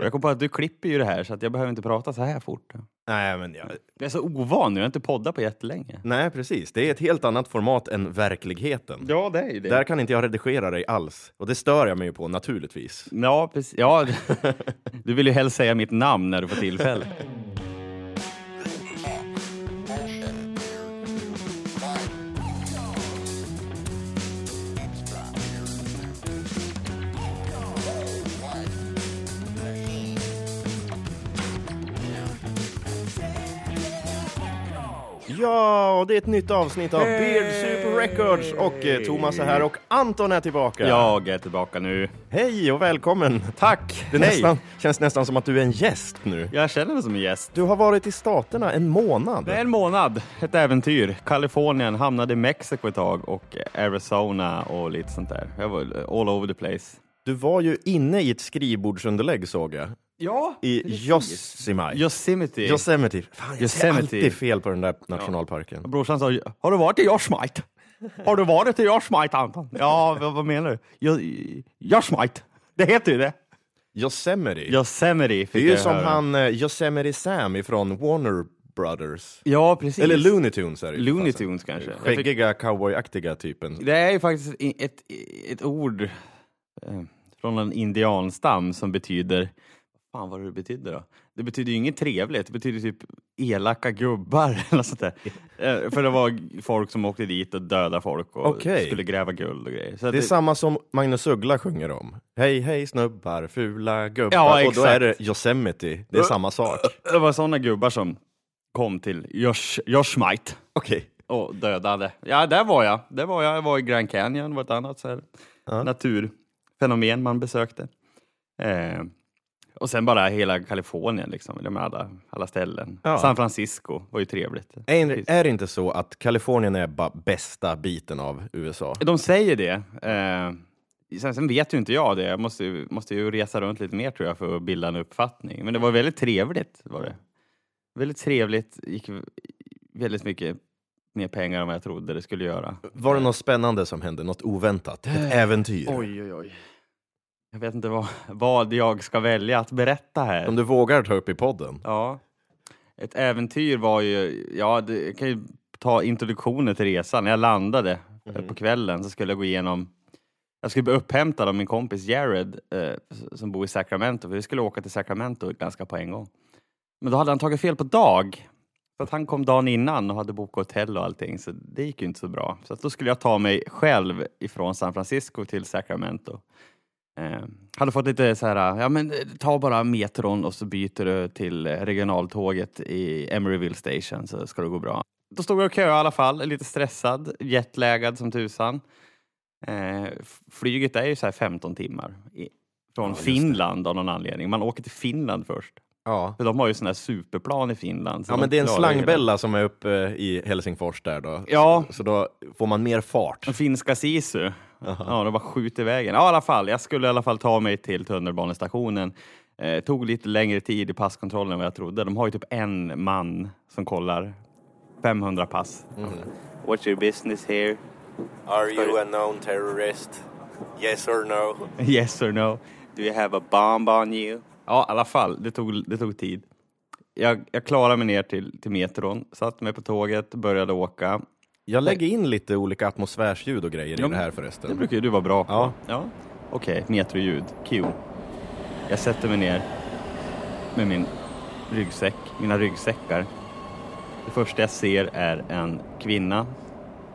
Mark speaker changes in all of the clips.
Speaker 1: Jag kom på att du klipper ju det här så att jag behöver inte prata så här fort.
Speaker 2: Nej, men jag...
Speaker 1: Jag är så ovan nu, jag har inte poddat på jättelänge.
Speaker 2: Nej, precis. Det är ett helt annat format än verkligheten.
Speaker 1: Ja, det är ju det.
Speaker 2: Där kan inte jag redigera dig alls. Och det stör jag mig ju på naturligtvis.
Speaker 1: Ja, precis. Ja, du vill ju helst säga mitt namn när du får tillfälle.
Speaker 2: Ja, och det är ett nytt avsnitt av Beard Soup Records och eh, Thomas är här och Anton är tillbaka.
Speaker 1: Jag är tillbaka nu.
Speaker 2: Hej och välkommen!
Speaker 1: Tack!
Speaker 2: Det nästan, känns nästan som att du är en gäst nu.
Speaker 1: Jag känner mig som en gäst.
Speaker 2: Du har varit i Staterna en månad.
Speaker 1: Det är en månad, ett äventyr. Kalifornien, hamnade i Mexiko ett tag och Arizona och lite sånt där. Jag var all over the place.
Speaker 2: Du var ju inne i ett skrivbordsunderlägg såg jag.
Speaker 1: Ja,
Speaker 2: I Yosemite.
Speaker 1: Yosemite.
Speaker 2: Yosemite. Fan, jag
Speaker 1: Yosemite.
Speaker 2: säger alltid fel på den där nationalparken.
Speaker 1: Brorsan sa, har du varit i Yosemite? Har du varit i Yosemite Anton? Ja, vad, vad menar du? Yo- Yosemite, det heter ju det.
Speaker 2: Yosemite.
Speaker 1: Yosemite
Speaker 2: det
Speaker 1: fick
Speaker 2: är ju
Speaker 1: jag
Speaker 2: som
Speaker 1: höra.
Speaker 2: han eh, Yosemite Sam ifrån Warner Brothers.
Speaker 1: Ja, precis.
Speaker 2: Eller Looney Tunes är det ju.
Speaker 1: Looney
Speaker 2: Fast-
Speaker 1: Tunes kanske. Jag fick-
Speaker 2: Skäggiga cowboyaktiga typen.
Speaker 1: Det är ju faktiskt i- ett, i- ett ord eh, från en indianstam som betyder, vad fan vad det betyder då? Det betyder ju inget trevligt, det betyder typ elaka gubbar eller något sånt där. Eh, För det var folk som åkte dit och dödade folk och
Speaker 2: Okej.
Speaker 1: skulle gräva guld och grejer. Så att
Speaker 2: Det är samma som Magnus Uggla sjunger om. Hej hej snubbar, fula gubbar.
Speaker 1: Ja,
Speaker 2: och då är det
Speaker 1: exakt. Uh.
Speaker 2: Yosemite. Det är samma sak.
Speaker 1: det var sådana gubbar som kom till Yosh, Yoshmite
Speaker 2: Okej.
Speaker 1: och dödade. Ja, där var jag. Där var jag. jag var i Grand Canyon, det var ett annat så här naturfenomen man besökte. Eh, och sen bara hela Kalifornien, liksom, eller med alla, alla ställen.
Speaker 2: Ja.
Speaker 1: San Francisco var ju trevligt.
Speaker 2: Är, är det inte så att Kalifornien är bara bästa biten av USA?
Speaker 1: De säger det. Eh, sen, sen vet ju inte jag det. Jag måste, ju- måste ju resa runt lite mer tror jag för att bilda en uppfattning. Men det var väldigt trevligt. Var det. Väldigt trevligt. Gick väldigt mycket mer pengar än vad jag trodde det skulle göra.
Speaker 2: Var det något spännande som hände? Något oväntat? Ett äventyr?
Speaker 1: Oj, oj, oj. Jag vet inte vad, vad jag ska välja att berätta här.
Speaker 2: Som du vågar ta upp i podden?
Speaker 1: Ja. Ett äventyr var ju, ja, det, jag kan ju ta introduktionen till resan. När jag landade eh, på kvällen så skulle jag gå igenom, jag skulle bli upphämtad av min kompis Jared eh, s- som bor i Sacramento, för vi skulle åka till Sacramento ganska på en gång. Men då hade han tagit fel på dag. Så att han kom dagen innan och hade bokat hotell och allting, så det gick ju inte så bra. Så att då skulle jag ta mig själv ifrån San Francisco till Sacramento. Eh, hade fått lite så här, ja men eh, ta bara metron och så byter du till eh, regionaltåget i Emeryville Station så ska det gå bra. Då stod jag och köade i alla fall, lite stressad, jetlaggad som tusan. Eh, f- flyget är ju så här 15 timmar i, från Finland av någon anledning. Man åker till Finland först.
Speaker 2: Ja.
Speaker 1: För de har ju sådana här superplan i Finland. så
Speaker 2: Ja,
Speaker 1: de
Speaker 2: men det är en
Speaker 1: klarar ju hela-
Speaker 2: slangbella som är uppe eh, i Helsingfors där då.
Speaker 1: Ja,
Speaker 2: Så då får man mer fart.
Speaker 1: Den finska sisu. Ja, de bara skjuter vägen. Ja, i alla fall. Jag skulle i alla fall ta mig till tunnelbanestationen. Eh, tog lite längre tid i passkontrollen än vad jag trodde. De har ju typ en man som kollar 500 pass. What's your business here?
Speaker 2: Are you a known terrorist? Yes or no?
Speaker 1: Yes or no? Do you have a bomb on you? Ja, i alla fall. Det tog, det tog tid. Jag, jag klarade mig ner till, till metron, satte mig på tåget, började åka.
Speaker 2: Jag lägger in lite olika atmosfärsljud och grejer
Speaker 1: Ja,
Speaker 2: i det här
Speaker 1: Det
Speaker 2: förresten.
Speaker 1: brukar ju du vara bra på.
Speaker 2: Ja.
Speaker 1: ja. Okej, metroljud. Q. Jag sätter mig ner med min ryggsäck, mina ryggsäckar. Det första jag ser är en kvinna.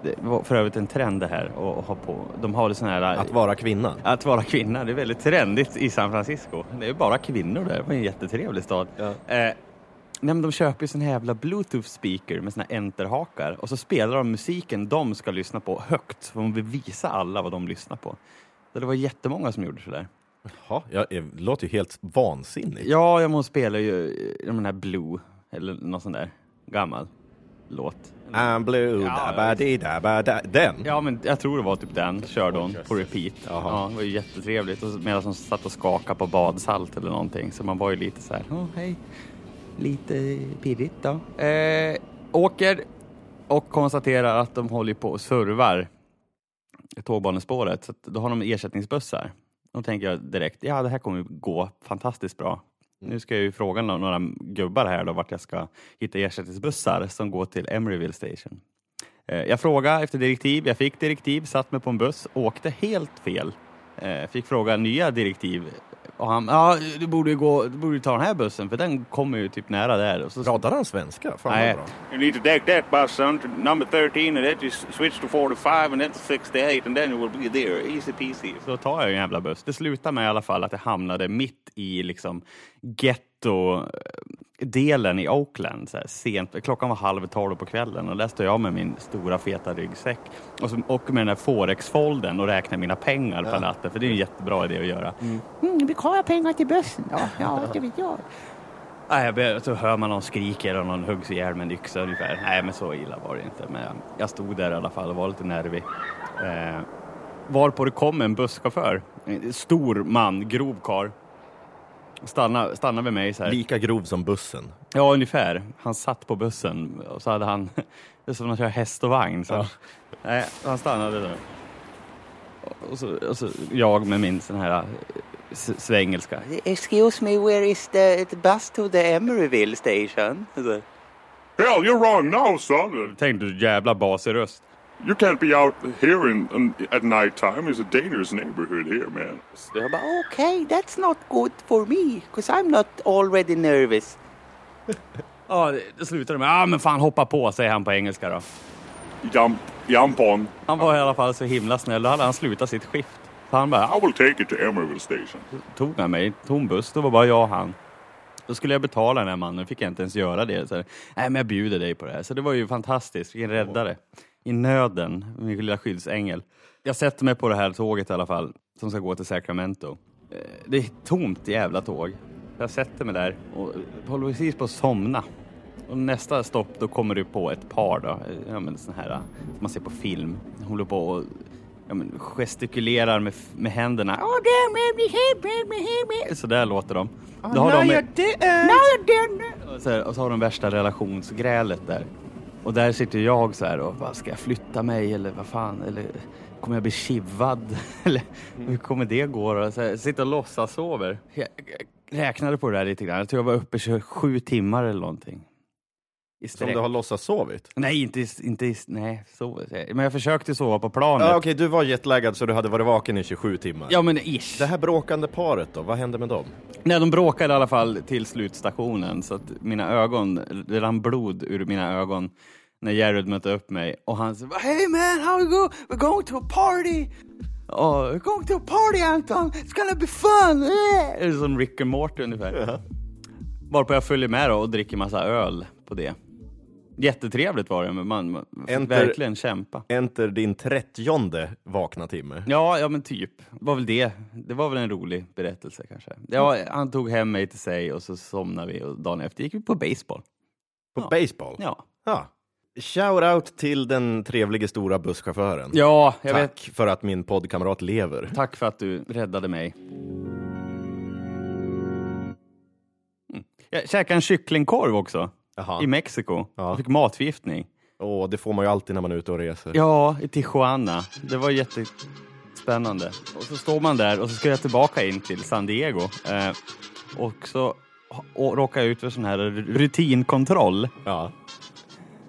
Speaker 1: Det var för övrigt en trend det här att ha på. De har det sån här...
Speaker 2: Att vara kvinna.
Speaker 1: Att vara kvinna, det är väldigt trendigt i San Francisco. Det är bara kvinnor där, det var en jättetrevlig stad.
Speaker 2: Ja.
Speaker 1: Eh, nej, men de köper ju sån här jävla bluetooth speaker med såna här enterhakar och så spelar de musiken de ska lyssna på högt, för de vill visa alla vad de lyssnar på. Så det var jättemånga som gjorde sådär.
Speaker 2: Ja, jag, det låter ju helt vansinnigt.
Speaker 1: Ja, jag spelar ju eh, den här Blue, eller någon sån där gammal låt.
Speaker 2: I'm blue,
Speaker 1: Ja,
Speaker 2: da ba di da ba da. Den?
Speaker 1: Ja, men jag tror det var typ den körde hon på repeat. Ja, det var ju jättetrevligt. Och så- Medan hon satt och skakade på badsalt eller någonting. Så man var ju lite så här, "Åh, hej. Lite pirrigt då. Eh, åker och konstaterar att de håller på och servar tågbanespåret. Så att då har de ersättningsbussar. Då tänker jag direkt, ja det här kommer ju gå fantastiskt bra. Nu ska jag ju fråga no- några gubbar här då vart jag ska hitta ersättningsbussar som går till Emeryville Station. Eh, Jag frågade efter direktiv, jag fick direktiv, satt mig på en buss, åkte helt fel. Eh, Fick fråga nya direktiv och han, ja du borde ju gå, du borde ju ta den här bussen för den kommer ju typ nära där. Och så
Speaker 2: Pratar han svenska? Fan vad
Speaker 1: Nej.
Speaker 2: bra.
Speaker 1: You need to take that bus son, to number 13 and that you s- switch to 45 and then to 68 and then you will be there. Easy peasy. Så tar jag en jävla buss. Det slutar med i alla fall att jag hamnade mitt i liksom ghetto eh, delen i Oakland. Så här, sent. Klockan var halv tolv på kvällen och där står jag med min stora feta ryggsäck och, så, och med den här forexfolden och räknar mina pengar på natten för det är en jättebra idé att göra. Mm, vi har pengar till bussen. Ja, ja det vet jag. Nej, jag ber, så hör man någon skriker och någon huggs ihjäl med en yxa ungefär. Nej, men så illa var det inte. Men jag, jag stod där i alla fall och var lite nervig. Eh, varpå det kom en busschaufför. En Stor man, grov karl. Stanna, stanna vid mig så här.
Speaker 2: Lika grov som bussen.
Speaker 1: Ja, ungefär. Han satt på bussen och så hade han... Det är som att köra häst och vagn. Så. Nej, han stannade där. Och så, och så jag med min sån här eh, s- svengelska.
Speaker 3: Excuse me, where is the, the bus to the Emeryville station? Så-
Speaker 4: Hell, you're wrong now, son.
Speaker 1: Tänkte du jävla basig röst.
Speaker 4: You can't be out here in, in, at night time. It's a dangerous neighborhood here, man.
Speaker 3: Jag bara, okay, that's not good for me, cause I'm not already nervous.
Speaker 1: Ja, det- det slutade med ja ah, men fan hoppa på, säger han på engelska då.
Speaker 4: Yam, yampon.
Speaker 1: Han var i alla fall så himla snäll. Då hade han slutat sitt skift. Så han bara,
Speaker 4: I
Speaker 1: "Au",
Speaker 4: will take you to Emeryville Station.
Speaker 1: tog han mig, tom buss, då var bara jag och han. Då skulle jag betala den här mannen, fick jag inte ens göra det. Så här, Nej, men jag bjuder dig på det här. Så det var ju fantastiskt, vilken räddare. I nöden, min lilla skyddsängel. Jag sätter mig på det här tåget i alla fall, som ska gå till Sacramento. Eh, Det är ett tomt jävla tåg. Jag sätter mig där och håller precis på att somna. Och nästa stopp, då kommer du på ett par då, eh, ja, men sån här eh, som man ser på film. Hon håller på och ja, men gestikulerar med, med händerna. "Åh, där, med, med, med, med, med." Så där låter de. Då har de och så, här, och så har de värsta relationsgrälet där. Och där sitter jag så här och bara, ska jag flytta mig eller vad fan? Eller kommer jag bli kivad? Eller hur kommer det gå då? Så här, sitter och låtsas sover. Jag, jag räknade på det där lite grann. Jag tror jag var uppe i 27 timmar eller någonting. I
Speaker 2: Som
Speaker 1: sträck.
Speaker 2: du har låtsas sovit.
Speaker 1: Nej, inte, i- inte i- nej, så, men jag försökte sova på planet.
Speaker 2: Ja, Okej, du var jetlaggad så du hade varit vaken i 27 timmar.
Speaker 1: Ja, men ish.
Speaker 2: Det här bråkande paret då, vad hände med dem?
Speaker 1: Nej, de bråkade i alla fall till slutstationen så att mina ögon, det rann blod ur mina ögon när Jared mötte upp mig och han sa
Speaker 3: Hey man, how you go? We're going to a party!
Speaker 1: "Åh,
Speaker 3: We're going to a party Anton! It's gonna be fun! Yeah.
Speaker 1: är "Eh." det som Rick and Morty ungefär. Varpå jag följer med då och dricker massa öl på det. Jättetrevligt var det, men man, man fick
Speaker 2: Enter-
Speaker 1: verkligen kämpa.
Speaker 2: Enter din trettionde vakna timme.
Speaker 1: Ja, ja men typ. Det var väl det. Det var väl en rolig berättelse kanske. Ja, han tog hem mig till sig och så somnade vi och dagen efter gick vi på baseball.
Speaker 2: På baseball.
Speaker 1: Ja,
Speaker 2: Ja. Shout out till den trevlige stora busschauffören.
Speaker 1: ja jag vet.
Speaker 2: Tack för att min poddkamrat lever.
Speaker 1: Tack för att du räddade mig. Mm. Jag käkade en kycklingkorv också
Speaker 2: Jaha.
Speaker 1: i Mexiko.
Speaker 2: Ja.
Speaker 1: Jag fick matförgiftning.
Speaker 2: Åh, det får man ju alltid när man är ute och reser.
Speaker 1: Ja, i Tijuana. Det var jättespännande. Och så står man där och så ska jag tillbaka in till San Diego. Eh, och så ha- och råkar jag ut för sån här rutinkontroll.
Speaker 2: Ja.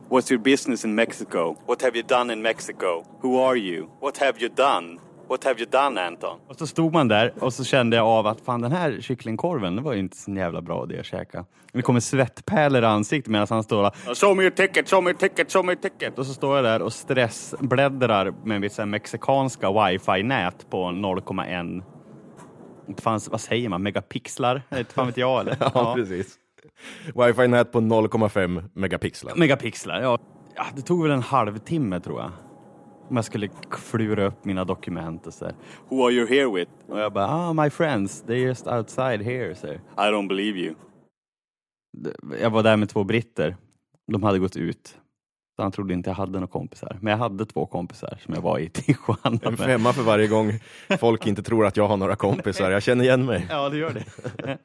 Speaker 1: What's your business in Mexico? What have you done in Mexico? Who are you? What have you done? What have you done Anton? Och så stod man där och så kände jag av att fan den här kycklingkorven, det var ju inte så jävla bra det jag käkade. Det kommer svettpärlor i ansiktet medan han står där. Uh, Show me your ticket, show me your ticket, show me your ticket. Och så står jag där och stressbläddrar med mitt så här mexikanska wifi-nät på 0,1 inte fanns, vad säger man, megapixlar? Inte fan vet jag eller?
Speaker 2: Ja, precis. Wifi-nät på 0,5 megapixlar.
Speaker 1: megapixlar. Ja. Ja, det tog väl en halvtimme tror jag. Om jag skulle klura upp mina dokument och så här. Who are you here with? Och jag bara, ah my friends, they're just outside here. Så här. I don't believe you. Jag var där med två britter. De hade gått ut. Så han trodde inte jag hade några kompisar. Men jag hade två kompisar som jag var i Tijuana
Speaker 2: En
Speaker 1: med.
Speaker 2: femma för varje gång folk inte tror att jag har några kompisar. Jag känner igen mig.
Speaker 1: Ja, det gör det.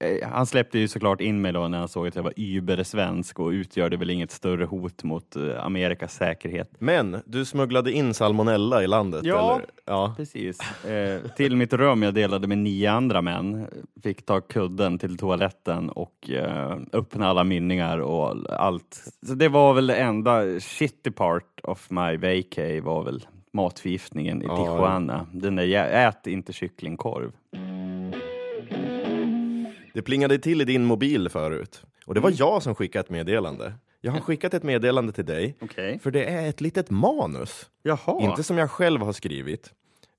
Speaker 1: eh, han släppte ju såklart in mig då när han såg att jag var übersvensk och utgörde väl inget större hot mot eh, Amerikas säkerhet.
Speaker 2: Men du smugglade in salmonella i landet?
Speaker 1: Ja.
Speaker 2: Eller? ja.
Speaker 1: Precis. Eh, till mitt rum jag delade med nio andra män. Fick ta kudden till toaletten och eh, öppna alla mynningar och allt. Så det var väl det enda shitty part of my vacay var väl matförgiftningen i Tijuana. Den där, jä- ät inte kycklingkorv.
Speaker 2: Det plingade till i din mobil förut. Och
Speaker 1: Mm.
Speaker 2: det var jag som skickade ett meddelande. Jag har skickat ett meddelande till dig.
Speaker 1: Okej.
Speaker 2: För det är ett litet manus.
Speaker 1: Jaha.
Speaker 2: Inte som jag själv har skrivit.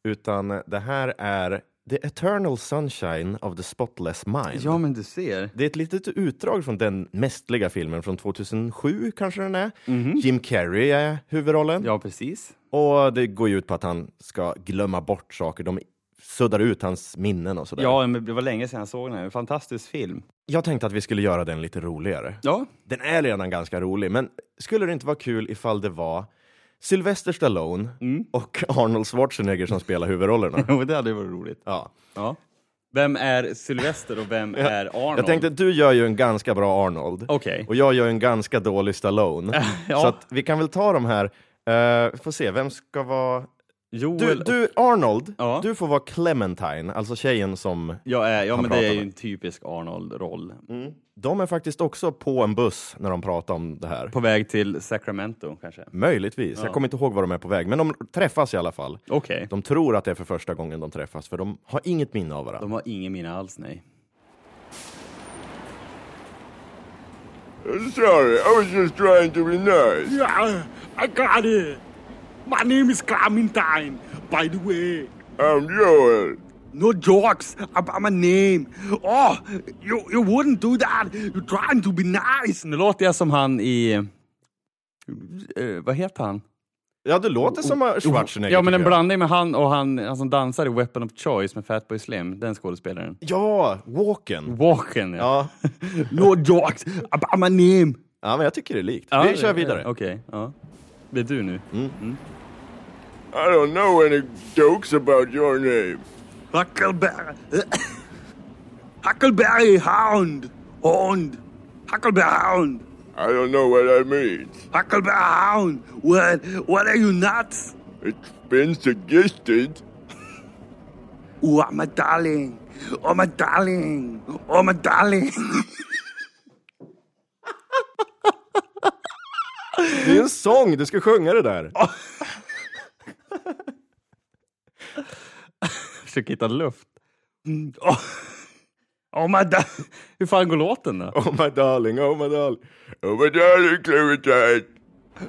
Speaker 2: Utan det här är The Eternal Sunshine of the Spotless Mind.
Speaker 1: Ja men du ser.
Speaker 2: Det är ett litet utdrag från den mästliga filmen från 2007 kanske den är. Jim Carrey är huvudrollen.
Speaker 1: Mhm. Ja precis.
Speaker 2: Och det går ju ut på att han ska glömma bort saker. De suddar ut hans minnen och sådär.
Speaker 1: Ja men det var länge sedan jag såg den här. En fantastisk film.
Speaker 2: Jag tänkte att vi skulle göra den lite roligare.
Speaker 1: Ja.
Speaker 2: Den är redan ganska rolig, men skulle det inte vara kul ifall det var Sylvester Stallone
Speaker 1: Mm.
Speaker 2: och Arnold Schwarzenegger som spelar huvudrollerna?
Speaker 1: Jo det hade ju varit roligt.
Speaker 2: Ja.
Speaker 1: Ja. Vem är Sylvester och vem är Arnold?
Speaker 2: Jag tänkte att du gör ju en ganska bra Arnold
Speaker 1: Okej.
Speaker 2: och jag gör ju en ganska dålig Stallone.
Speaker 1: Ja.
Speaker 2: Så att vi kan väl ta de här. Uh, får se, vem ska vara... Du,
Speaker 1: Joel och-
Speaker 2: du Arnold,
Speaker 1: Ja.
Speaker 2: du får vara Clementine, alltså tjejen som...
Speaker 1: Jag är, ja,
Speaker 2: Han
Speaker 1: men det är
Speaker 2: pratar
Speaker 1: ju
Speaker 2: med. Mm.
Speaker 1: en typisk Arnold-roll.
Speaker 2: De är faktiskt också på en buss när de pratar om det här.
Speaker 1: På väg till Sacramento kanske.
Speaker 2: Mm. Möjligtvis, jag kommer inte ihåg var de är på väg, men de träffas i alla fall.
Speaker 1: Okej. De,
Speaker 2: De tror att det är för första gången de träffas, för de har inget minne av varandra.
Speaker 1: har ingen minne alls, nej.
Speaker 4: Sorry, I was just trying to be nice.
Speaker 5: Yeah, I got it. My name is Clementine, by the way.
Speaker 4: I'm Joel.
Speaker 5: No jokes about my name. Oh, you, you wouldn't do that. You're trying to be nice.
Speaker 1: Nu låter jag som han i... eh, vad heter han?
Speaker 2: Ja, du låter som Schwarzenegger.
Speaker 1: Ja, men en
Speaker 2: tycker jag.
Speaker 1: blandning med han och han, han som dansar i Weapon of Choice med Fatboy Slim, den skådespelaren.
Speaker 2: Ja, Walken.
Speaker 1: Walken, ja.
Speaker 2: Ja.
Speaker 5: No jokes about my name.
Speaker 2: ja, men jag tycker det är likt.
Speaker 1: Ja,
Speaker 2: Vi kör
Speaker 1: det-
Speaker 2: vidare.
Speaker 1: Okej, ja. Det är du nu.
Speaker 4: I don't know any jokes about your name.
Speaker 5: Huckleberry. Huckleberry hound. Hound. Huckleberry hound.
Speaker 4: I don't know what that means.
Speaker 5: Huckleberry hound. What, what are you nuts?
Speaker 4: It's been suggested.
Speaker 5: Oh, my darling. Oh, my darling. Oh, my darling.
Speaker 2: Det är en sång, du ska sjunga det där.
Speaker 1: Försöker hitta luft.
Speaker 5: Oh, oh my da-
Speaker 1: Hur fan går låten då?
Speaker 2: Oh my darling, oh my darling.
Speaker 4: Oh, my darling Clementine.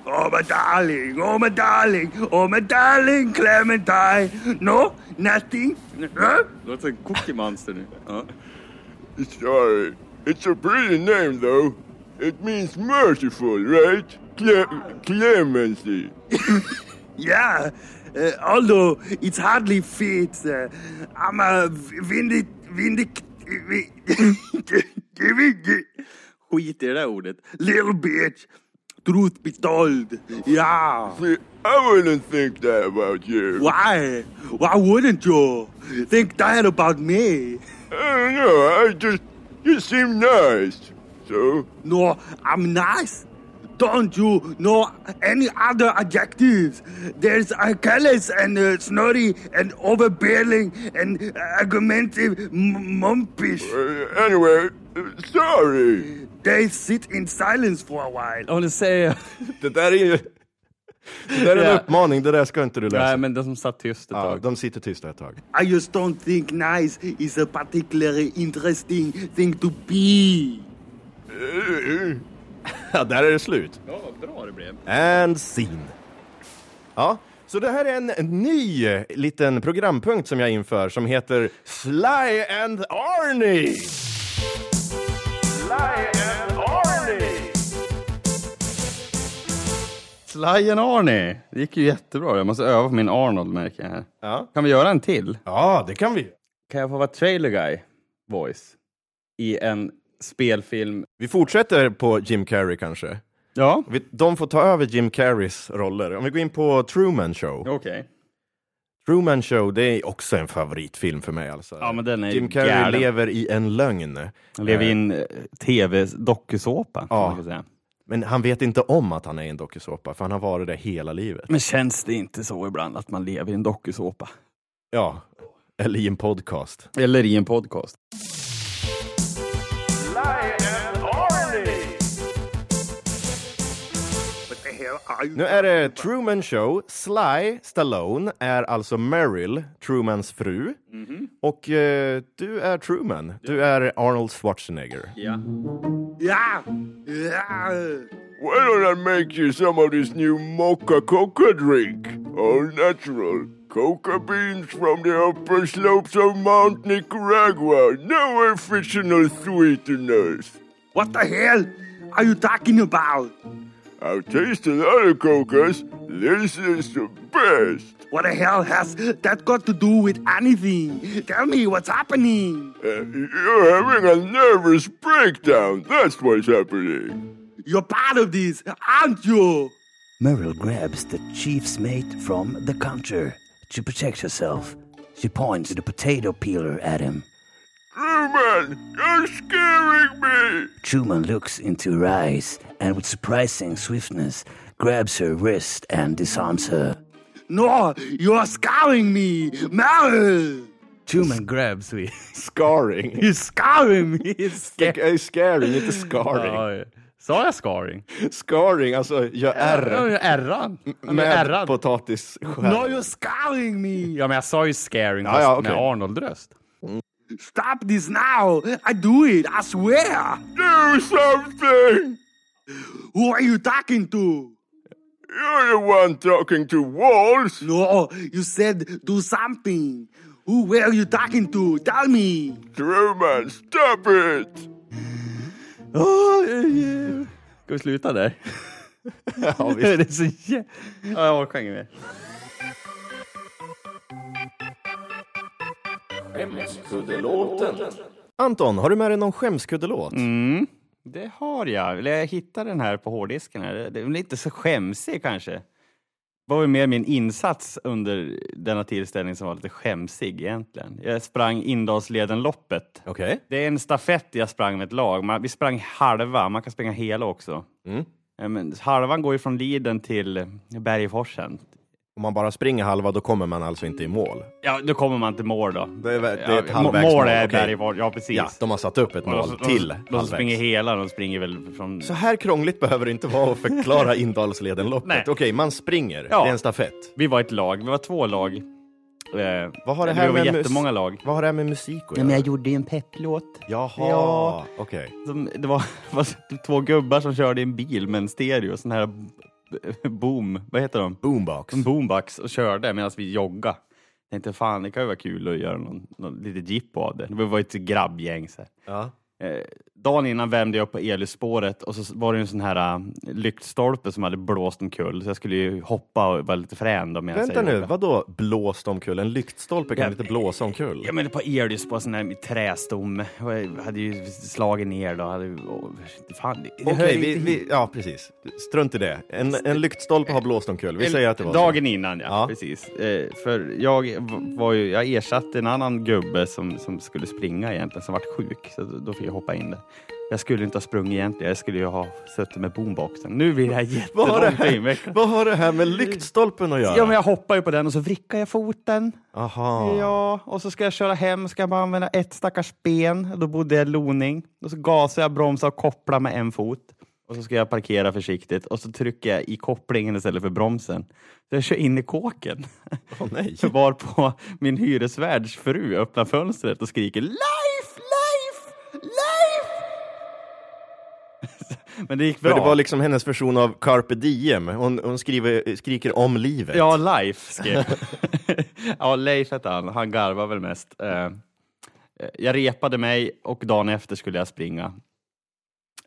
Speaker 5: oh my darling, oh my darling, oh my darling Clementine. No, nothing. Huh?
Speaker 1: Låter som Cookie Monster nu. Ja.
Speaker 4: Sorry. uh, It's a pretty name, though. It means merciful, right? Cle- clemency.
Speaker 5: Yeah, uh, although it's hardly fits. Uh, I'm a vindic, vindic, vindic,
Speaker 1: Skit i det där ordet.
Speaker 5: little bitch. Truth be told, yeah.
Speaker 4: See, I wouldn't think that about you.
Speaker 5: Why? Why wouldn't you think that about me?
Speaker 4: I don't know. Uh, I just. You seem nice. So,
Speaker 5: No, I'm nice. Don't you know any other adjectives? There's a careless and uh, snotty and overbearing and uh, argumentative m- mumpish.
Speaker 4: uh, anyway, uh, sorry.
Speaker 5: They sit in silence for a while.
Speaker 1: Ja, nu säger jag.
Speaker 2: Det där är ju... Det där är en
Speaker 1: Ja.
Speaker 2: uppmaning, det där ska inte du
Speaker 1: Nej,
Speaker 2: läsa.
Speaker 1: men den som satt tyst ett
Speaker 2: Ja,
Speaker 1: tag.
Speaker 2: de sitter tysta ett tag.
Speaker 5: I just don't think nice is a particularly interesting thing to be.
Speaker 2: Ja, där är det slut.
Speaker 1: Ja, vad bra det blev.
Speaker 2: And scene. Ja, så det här är en ny liten programpunkt som jag inför som heter Sly and Arnie.
Speaker 1: Slajen Arnie! Det gick ju jättebra. Jag måste öva på min Arnold märker jag här.
Speaker 2: Ja.
Speaker 1: Kan vi göra en till?
Speaker 2: Ja, det kan vi.
Speaker 1: Kan jag få vara trailer guy voice i en spelfilm?
Speaker 2: Vi fortsätter på Jim Carrey kanske.
Speaker 1: Ja,
Speaker 2: Vi- De får ta över Jim Carreys roller. Om vi går in på Truman Show.
Speaker 1: okej.
Speaker 2: Truman Show, det är också en favoritfilm för mig. Alltså.
Speaker 1: Ja, men den är
Speaker 2: Jim Carrey
Speaker 1: galen.
Speaker 2: lever i en lögn.
Speaker 1: Han lever i en eh, tv-dokusåpa.
Speaker 2: Ja.
Speaker 1: Ja.
Speaker 2: Men han vet inte om att han är i en dokusåpa, för han har varit det hela livet.
Speaker 1: Men känns det inte så ibland att man lever i en dokusåpa?
Speaker 2: Ja, eller i en podcast.
Speaker 1: Eller i en podcast.
Speaker 2: Nu är det Truman Show. Sly Stallone är alltså Meryl, Trumans fru.
Speaker 1: Mhm.
Speaker 2: Och eh, du är Truman. Du är Arnold Schwarzenegger.
Speaker 5: Yeah. Yeah.
Speaker 4: Why don't I make you some of this new mocha coca drink? All natural. Coca beans from the upper slopes of Mount Nicaragua. No artificial sweeteners.
Speaker 5: What the hell are you talking about?
Speaker 4: I've tasted other cocas. This is the best.
Speaker 5: What the hell has that got to do with anything? Tell me what's happening.
Speaker 4: Uh, you're having a nervous breakdown. That's what's happening.
Speaker 5: You're part of this, aren't you?
Speaker 6: Merrill grabs the chief's mate from the counter to protect herself. She points the potato peeler at him.
Speaker 4: Truman, you're scaring me.
Speaker 6: Truman looks into her eyes and, with surprising swiftness, grabs her wrist and disarms her.
Speaker 5: No, you're scaring me, Meryl.
Speaker 6: Truman grabs me.
Speaker 2: Scarring.
Speaker 1: You're scarring me! You're scar-
Speaker 2: Sc- scaring, inte scarring.
Speaker 1: Ja, Sa jag scarring?
Speaker 2: Scarring, alltså jag
Speaker 1: Ja,
Speaker 2: är
Speaker 1: jag är ärrad. Jag är
Speaker 2: med
Speaker 1: ärrad.
Speaker 2: potatisskär.
Speaker 1: No, you're scarring me! Ja, men jag sa ju scaring
Speaker 2: Ja,
Speaker 1: fast
Speaker 2: ja, okej.
Speaker 1: med Arnold-röst.
Speaker 5: Stop this now. I do it, I swear.
Speaker 4: Do something.
Speaker 5: Who are you talking to?
Speaker 4: You're the one talking to walls.
Speaker 5: No, you said do something. Who were you talking to? Tell me.
Speaker 4: Truman, stop it.
Speaker 1: Ska vi sluta där? Ja, det är så jä... Ja, jag orkar inget mer.
Speaker 2: Anton, har du med dig någon skämskuddelåt?
Speaker 1: Mm. Det har jag. Eller jag hittade den här på hårddisken. Här. Det- Det är lite så skämsig kanske. Det var väl mer min insats under denna tillställning som var lite skämsig egentligen. Jag sprang Indalsledenloppet.
Speaker 2: Okej.
Speaker 1: Det är en stafett jag sprang med ett lag. Man, vi sprang halva, man kan springa hela också.
Speaker 2: Mm.
Speaker 1: Eh, Men halvan går ju från Liden till Bergforsen.
Speaker 2: Om man bara springer halva, då kommer man alltså inte i mål.
Speaker 1: Ja, då kommer man till mål då.
Speaker 2: Det är, vä- det är ett
Speaker 1: Ja,
Speaker 2: halvvägsmål.
Speaker 1: Mål är
Speaker 2: okej.
Speaker 1: Bergforsen, ja precis.
Speaker 2: Ja, de har satt upp ett
Speaker 1: Och
Speaker 2: mål
Speaker 1: de- de-
Speaker 2: till
Speaker 1: De som
Speaker 2: halvvägs.
Speaker 1: springer hela, de springer väl från...
Speaker 2: Så här krångligt behöver det inte vara att förklara Indalsledenloppet.
Speaker 1: Nej.
Speaker 2: Okej, man springer.
Speaker 1: Ja.
Speaker 2: Det är en stafett.
Speaker 1: Vi var ett lag, vi var två lag. Eh,
Speaker 2: Vad har det
Speaker 1: vi
Speaker 2: här
Speaker 1: var
Speaker 2: med mus-
Speaker 1: jättemånga lag.
Speaker 2: Vad har det här med musik att
Speaker 1: Ja, men
Speaker 2: göra?
Speaker 1: jag gjorde ju en pepplåt.
Speaker 2: Jaha,
Speaker 1: Ja.
Speaker 2: okej.
Speaker 1: Som, det var, var två gubbar som körde i en bil med en stereo, sån här b- boom, vad heter de?
Speaker 2: Boombox.
Speaker 1: En boombox och körde medan vi joggade. Tänkte fan, det kan ju vara kul att göra någon, någon lite jippo av det. Det var ju ett grabbgäng så här.
Speaker 2: Ja.
Speaker 1: Eh, dagen innan värmde jag upp på elljusspåret och så var det ju en sån här eh, lyktstolpe som hade blåst omkull så jag skulle ju hoppa och vara lite frän då medan jag
Speaker 2: Vänta
Speaker 1: joggade.
Speaker 2: nu, vadå blåst omkull? En lyktstolpe kan
Speaker 1: Ja.
Speaker 2: inte blåsa omkull?
Speaker 1: Ja men ett par earlys på sån här trästomme. Och Jag hade ju slagit ner då. Hade, och, fan, det- det
Speaker 2: Okej,
Speaker 1: hör inte
Speaker 2: vi,
Speaker 1: hit.
Speaker 2: vi, ja precis. Strunt i det. En, en lyktstolpe har blåst omkull. Vi säger att det var
Speaker 1: Dagen innan ja,
Speaker 2: Ja.
Speaker 1: precis. Eh, för jag v- var ju, jag ersatte en annan gubbe som, som skulle springa egentligen, som vart sjuk. Så då då fick jag hoppa in där. Jag skulle inte ha sprungit egentligen, jag skulle ju ha suttit med boomboxen. Nu blir det här
Speaker 2: så. Vad har, det
Speaker 1: jättelångt
Speaker 2: här,
Speaker 1: invecklat.
Speaker 2: vad har det här med lyktstolpen att göra?
Speaker 1: Ja men jag hoppar ju på den och så vrickar jag foten.
Speaker 2: Aha.
Speaker 1: Ja, och så ska jag köra hem, ska jag bara använda ett stackars ben. Då bodde jag i Loning. Och så gasar jag, bromsar och kopplar med en fot. Och så ska jag parkera försiktigt och så trycker jag i kopplingen istället för bromsen. Så jag kör in i kåken.
Speaker 2: Åh, nej.
Speaker 1: Varpå min hyresvärds fru öppnar fönstret och skriker Life, life, life! Men det gick bra.
Speaker 2: För det var liksom hennes version av carpe diem. Hon, hon skriver, skriker om livet.
Speaker 1: Ja, Life skrev Ja, Leif hette han. Han garvar väl mest. Eh, eh, Jag repade mig och dagen efter skulle jag springa.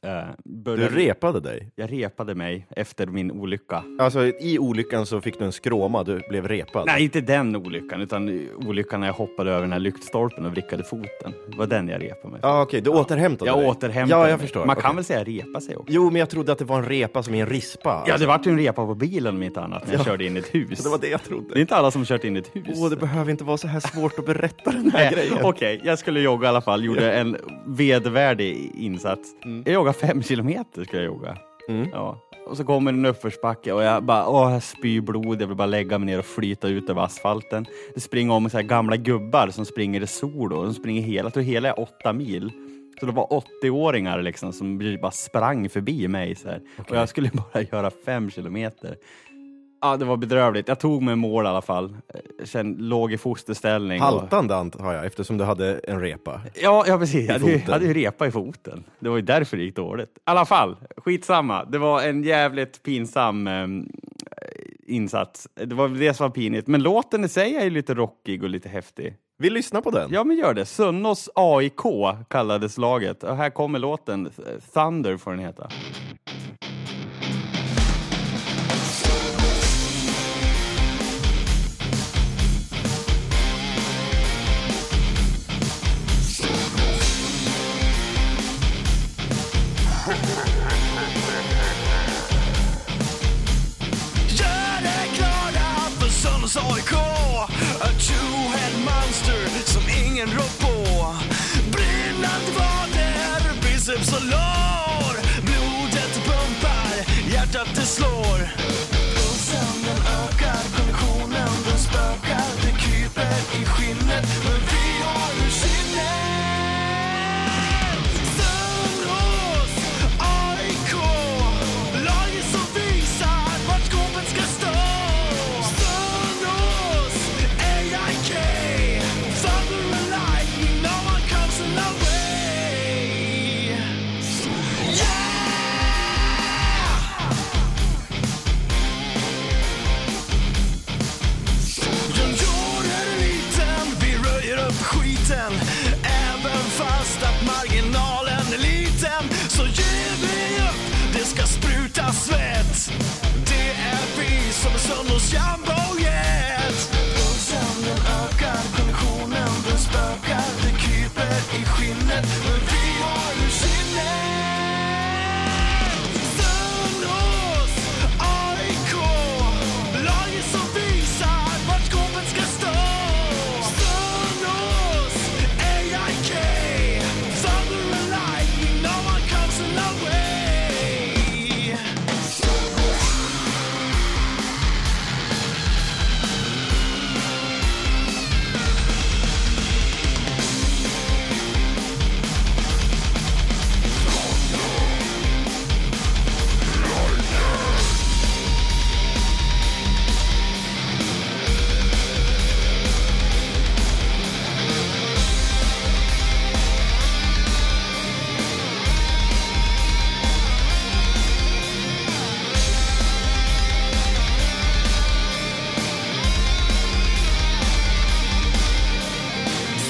Speaker 1: eh,
Speaker 2: Du
Speaker 1: började,
Speaker 2: repade dig.
Speaker 1: jag repade mig efter min olycka.
Speaker 2: Alltså i olyckan så fick du en skråma, du blev repad.
Speaker 1: Nej, inte den olyckan, utan olyckan när jag hoppade över den här lyktstolpen och vrickade foten. Det var den jag repade mig.
Speaker 2: Ja, ah, okej, du återhämtade
Speaker 1: jag
Speaker 2: dig.
Speaker 1: återhämtade
Speaker 2: Ja, jag
Speaker 1: mig.
Speaker 2: förstår.
Speaker 1: Man
Speaker 2: Okej.
Speaker 1: kan väl säga repa sig också?
Speaker 2: Jo, men jag trodde att det var en repa som i en rispa.
Speaker 1: Ja, det vart ju en repa på bilen om inte annat när jag körde in i ett hus.
Speaker 2: det var det jag
Speaker 1: Det är
Speaker 2: trodde.
Speaker 1: inte alla som kört in i ett hus.
Speaker 2: Åh, det behöver inte vara så här svårt att berätta den här
Speaker 1: Nej,
Speaker 2: grejen.
Speaker 1: Okej, jag skulle jogga i alla fall. Gjorde en vedervärdig insats.
Speaker 2: Mm.
Speaker 1: Jag joggade fem kilometer. Skulle jag jogga. Ja. Och så kommer en uppförsbacke och jag bara, åh, jag spyr blod. Jag vill bara lägga mig ner och flyta ut över asfalten. Det springer om så här gamla gubbar som springer i solo. De springer hela, jag tror hela är åtta mil. Så det var 80-åringar liksom som bara sprang förbi mig. Så här. Och jag skulle bara göra fem kilometer. Ja, det var bedrövligt. Jag tog mig i mål i alla fall. Eh, Sen låg i fosterställning. och-
Speaker 2: Haltande antar jag, eftersom du hade en repa.
Speaker 1: Ja, ja precis. Jag hade, ju,
Speaker 2: foten.
Speaker 1: hade ju repa i foten. Det var ju därför det gick dåligt. I alla fall, skitsamma. Det var en jävligt pinsam ehm, insats. Det var väl det som var pinigt. Men låten i sig är ju lite rockig och lite häftig.
Speaker 2: Vi lyssnar på den.
Speaker 1: Ja, men gör det. Sunnos AIK kallades laget. Och här kommer låten. Th- Thunder får den heta.
Speaker 7: Gör dig glada för Sölves AIK Ett tjohällmonster som ingen rår på Brinnande vader, biceps och lår Blodet pumpar, hjärtat det slår Pulsen den ökar, konditionen den spökar Det kryper i skinnet, men vi har ur sinnet Sölvås AIK Laget som visar vart skåpet ska stå Sölvås AIK Thunder and lightning, no one comes in our way Yeah! Den jorden är liten, vi röjer upp skiten Även fast att marginalen är liten Så ger vi upp, det ska spruta svett Det är vi som är Sölvås jumbojet Pulsen den ökar, konditionen den spökar Det kryper i skinnet, men vi har ju sinnet Sölvås AIK Laget som visar vart skåpet ska stå Sölvås AIK Thunder and lightning, no one comes in our way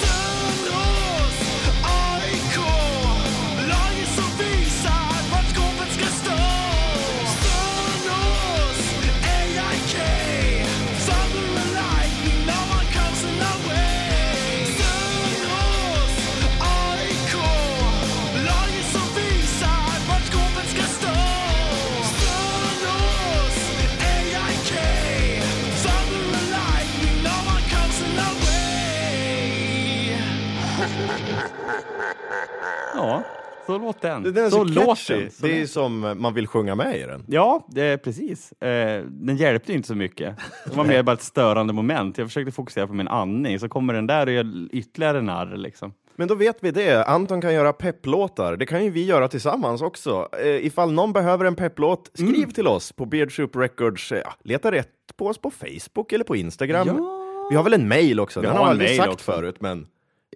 Speaker 7: Sölvås AIK Laget som visar vart skåpet ska stå Sölvås AIK Thunder and lightning, no one comes in our way Sölvås AIK Laget som visar vart skåpet ska stå Sölvås AIK Thunder and lightning, no one comes in our way
Speaker 1: Ja, så låt den.
Speaker 2: Den är så,
Speaker 1: låt
Speaker 2: catchy.
Speaker 1: den. Så
Speaker 2: Det
Speaker 1: låt-
Speaker 2: är som man vill sjunga med i den.
Speaker 1: Ja, det är precis. Eh, den hjälpte ju inte så mycket. Det var mer bara ett störande moment. Jag försökte fokusera på min andning, så kommer den där och gör ytterligare narr liksom.
Speaker 2: Men då vet vi det. Anton kan göra pepplåtar. Det kan ju vi göra tillsammans också. Eh, ifall någon behöver en pepplåt, skriv
Speaker 1: Mm.
Speaker 2: till oss på Beardsoup Records. Eh, ja, leta rätt på oss på Facebook eller på Instagram. Vi har väl en mail också?
Speaker 1: Vi
Speaker 2: Den
Speaker 1: har en
Speaker 2: har jag aldrig
Speaker 1: mail
Speaker 2: sagt
Speaker 1: också.
Speaker 2: förut, men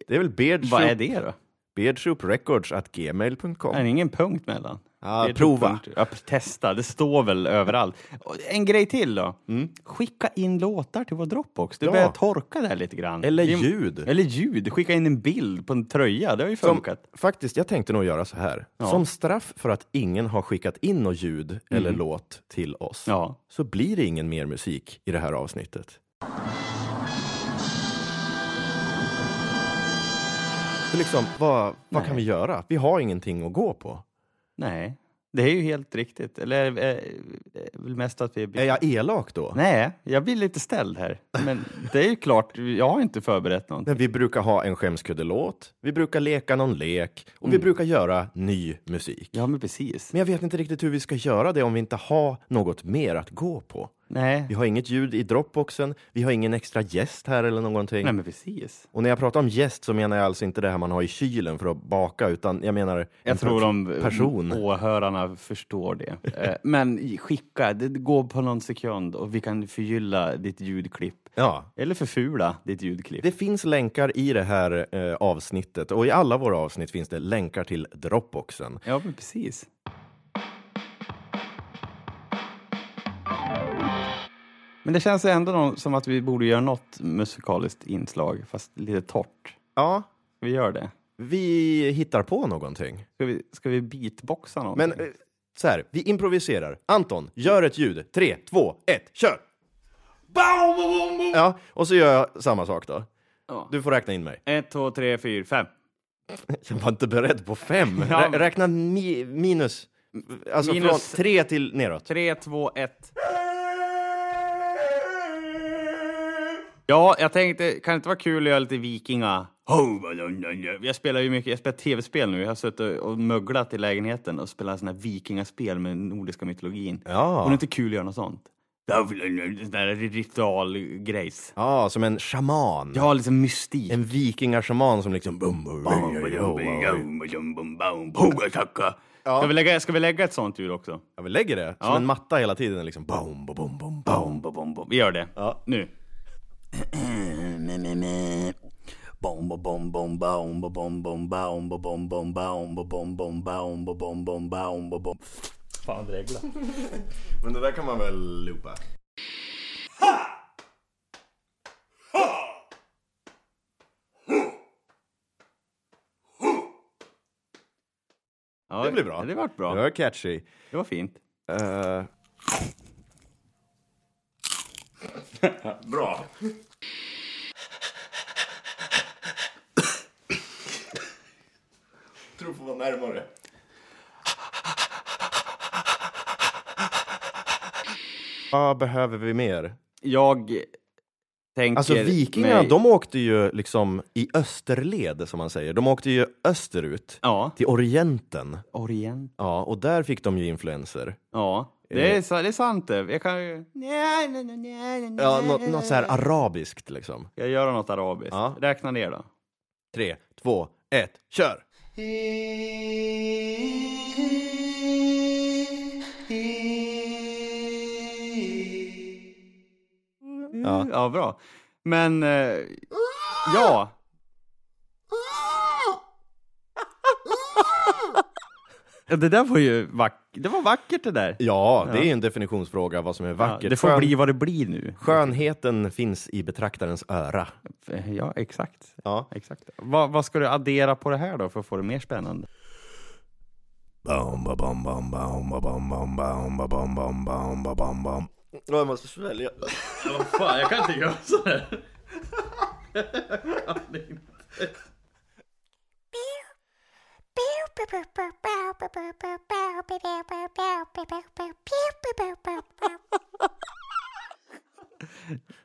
Speaker 2: det är väl
Speaker 1: Vad är
Speaker 2: beardsoup-
Speaker 1: det då?
Speaker 2: beardsouprecords@gmail.com.
Speaker 1: Är det ingen punkt mellan?
Speaker 2: Ja,
Speaker 1: Det är
Speaker 2: prova.
Speaker 1: dumt. Ja, testa, det står väl överallt. Och En grej till då. Mm. Skicka in låtar till vår Dropbox. Det
Speaker 2: Ja.
Speaker 1: börjar torka där lite grann.
Speaker 2: Eller
Speaker 1: Det är-
Speaker 2: ljud.
Speaker 1: Eller ljud. Skicka in en bild på en tröja. Det har ju
Speaker 2: Som,
Speaker 1: funkat.
Speaker 2: faktiskt, jag tänkte nog göra så här. Som straff för att ingen har skickat in något ljud eller låt till oss
Speaker 1: Mm. Ja.
Speaker 2: så blir det ingen mer musik i det här avsnittet. För liksom, vad, vad kan vi göra? Vi har ingenting att gå på.
Speaker 1: Nej, det är ju helt riktigt. Eller eh, eh, väl mest att vi...
Speaker 2: Är jag elak då?
Speaker 1: Nej, jag blir lite ställd här. Men det är ju klart, jag har inte förberett någonting.
Speaker 2: Men vi brukar ha en skämskuddelåt, vi brukar leka någon lek och
Speaker 1: Mm.
Speaker 2: vi brukar göra ny musik.
Speaker 1: Ja, men precis.
Speaker 2: Men jag vet inte riktigt hur vi ska göra det om vi inte har något mer att gå på. Vi
Speaker 1: Nej,
Speaker 2: har inget ljud i Dropboxen, vi har ingen extra gäst här eller någonting.
Speaker 1: nej men precis.
Speaker 2: Och när jag pratar om gäst så menar jag alltså inte det här man har i kylen för att baka, utan jag menar en
Speaker 1: Jag tror de eh,
Speaker 2: person.
Speaker 1: åhörarna förstår det. Eh, Men i- skicka, det går på någon sekund och vi kan förgylla ditt ljudklipp.
Speaker 2: Ja.
Speaker 1: Eller förfula ditt ljudklipp.
Speaker 2: Det finns länkar i det här eh, avsnittet och i alla våra avsnitt finns det länkar till Dropboxen.
Speaker 1: Ja, men precis. Men det känns ändå nå- som att vi borde göra något musikaliskt inslag, fast lite torrt.
Speaker 2: Ja,
Speaker 1: Vi gör det.
Speaker 2: vi hittar på någonting.
Speaker 1: Ska vi, ska vi beatboxa någonting?
Speaker 2: Men eh, så här, vi improviserar. Anton, gör ett ljud. Tre, två, ett, kör! Ja, och så gör jag samma sak då.
Speaker 1: Ja.
Speaker 2: Du får räkna in mig.
Speaker 1: Ett, två, tre, fyra, fem.
Speaker 2: Jag var inte beredd på fem.
Speaker 1: Ja.
Speaker 2: Rä- Räkna mi minus. Alltså
Speaker 1: Minus-
Speaker 2: från tre till neråt.
Speaker 1: Tre, två, ett. Ja, jag tänkte, kan det inte vara kul att göra lite vikinga? Jag spelar ju mycket, jag spelar tv-spel nu. Jag har suttit och möglat i lägenheten och spelat såna här vikingaspel med nordiska mytologin.
Speaker 2: Ja.
Speaker 1: Vore det inte kul att göra något sånt? Sån där ritualgrejs.
Speaker 2: Ja, som en shaman.
Speaker 1: Jag har liksom mystik.
Speaker 2: En vikingashaman som liksom... Bum, bum, bum, bum, bum, bum.
Speaker 1: Ska, vi lägga, ska vi lägga ett sånt ljud också?
Speaker 2: Ja, vi lägger det som
Speaker 1: Ja.
Speaker 2: en matta hela tiden. Liksom. Bum, bum, bum, bum, bum.
Speaker 1: Bom, bom, bom, bom. Vi gör det.
Speaker 2: Ja.
Speaker 1: Nu.
Speaker 2: Men det där kan man väl loopa?
Speaker 1: Ja,
Speaker 2: Det blir bra.
Speaker 1: Det vart bra.
Speaker 2: Det var catchy.
Speaker 1: Det var fint.
Speaker 2: Eh, tror får vara närmare. Vad behöver vi mer?
Speaker 1: Jag tänker...
Speaker 2: Alltså vikingarna,
Speaker 1: mig-
Speaker 2: de åkte ju liksom i österled som man säger. De åkte ju österut
Speaker 1: Ja,
Speaker 2: till Orienten.
Speaker 1: Orient.
Speaker 2: Ja, och där fick de ju influenser.
Speaker 1: Ja, det är, sa- det är sant det. Jag kan ju... Nej, nej, nej, nej, nej.
Speaker 2: Ja, något, något så här arabiskt liksom.
Speaker 1: Jag gör något arabiskt.
Speaker 2: Ja.
Speaker 1: Räkna ner då.
Speaker 2: Tre, två, ett, kör!
Speaker 1: Mm. Ja, bra. Men... Eh, ja. Ja, Det där var ju vack- det var vackert det där.
Speaker 2: Ja, det är en definitionsfråga vad som är
Speaker 1: Ja,
Speaker 2: vackert.
Speaker 1: det får
Speaker 2: Skön-
Speaker 1: bli vad det blir nu.
Speaker 2: Skönheten finns i betraktarens öra.
Speaker 1: Ja, exakt.
Speaker 2: Ja.
Speaker 1: exakt. Vad, vad ska du addera på det här då för att få det mer spännande?
Speaker 2: Jag måste svälja.
Speaker 1: Fan, jag kan inte göra sådär.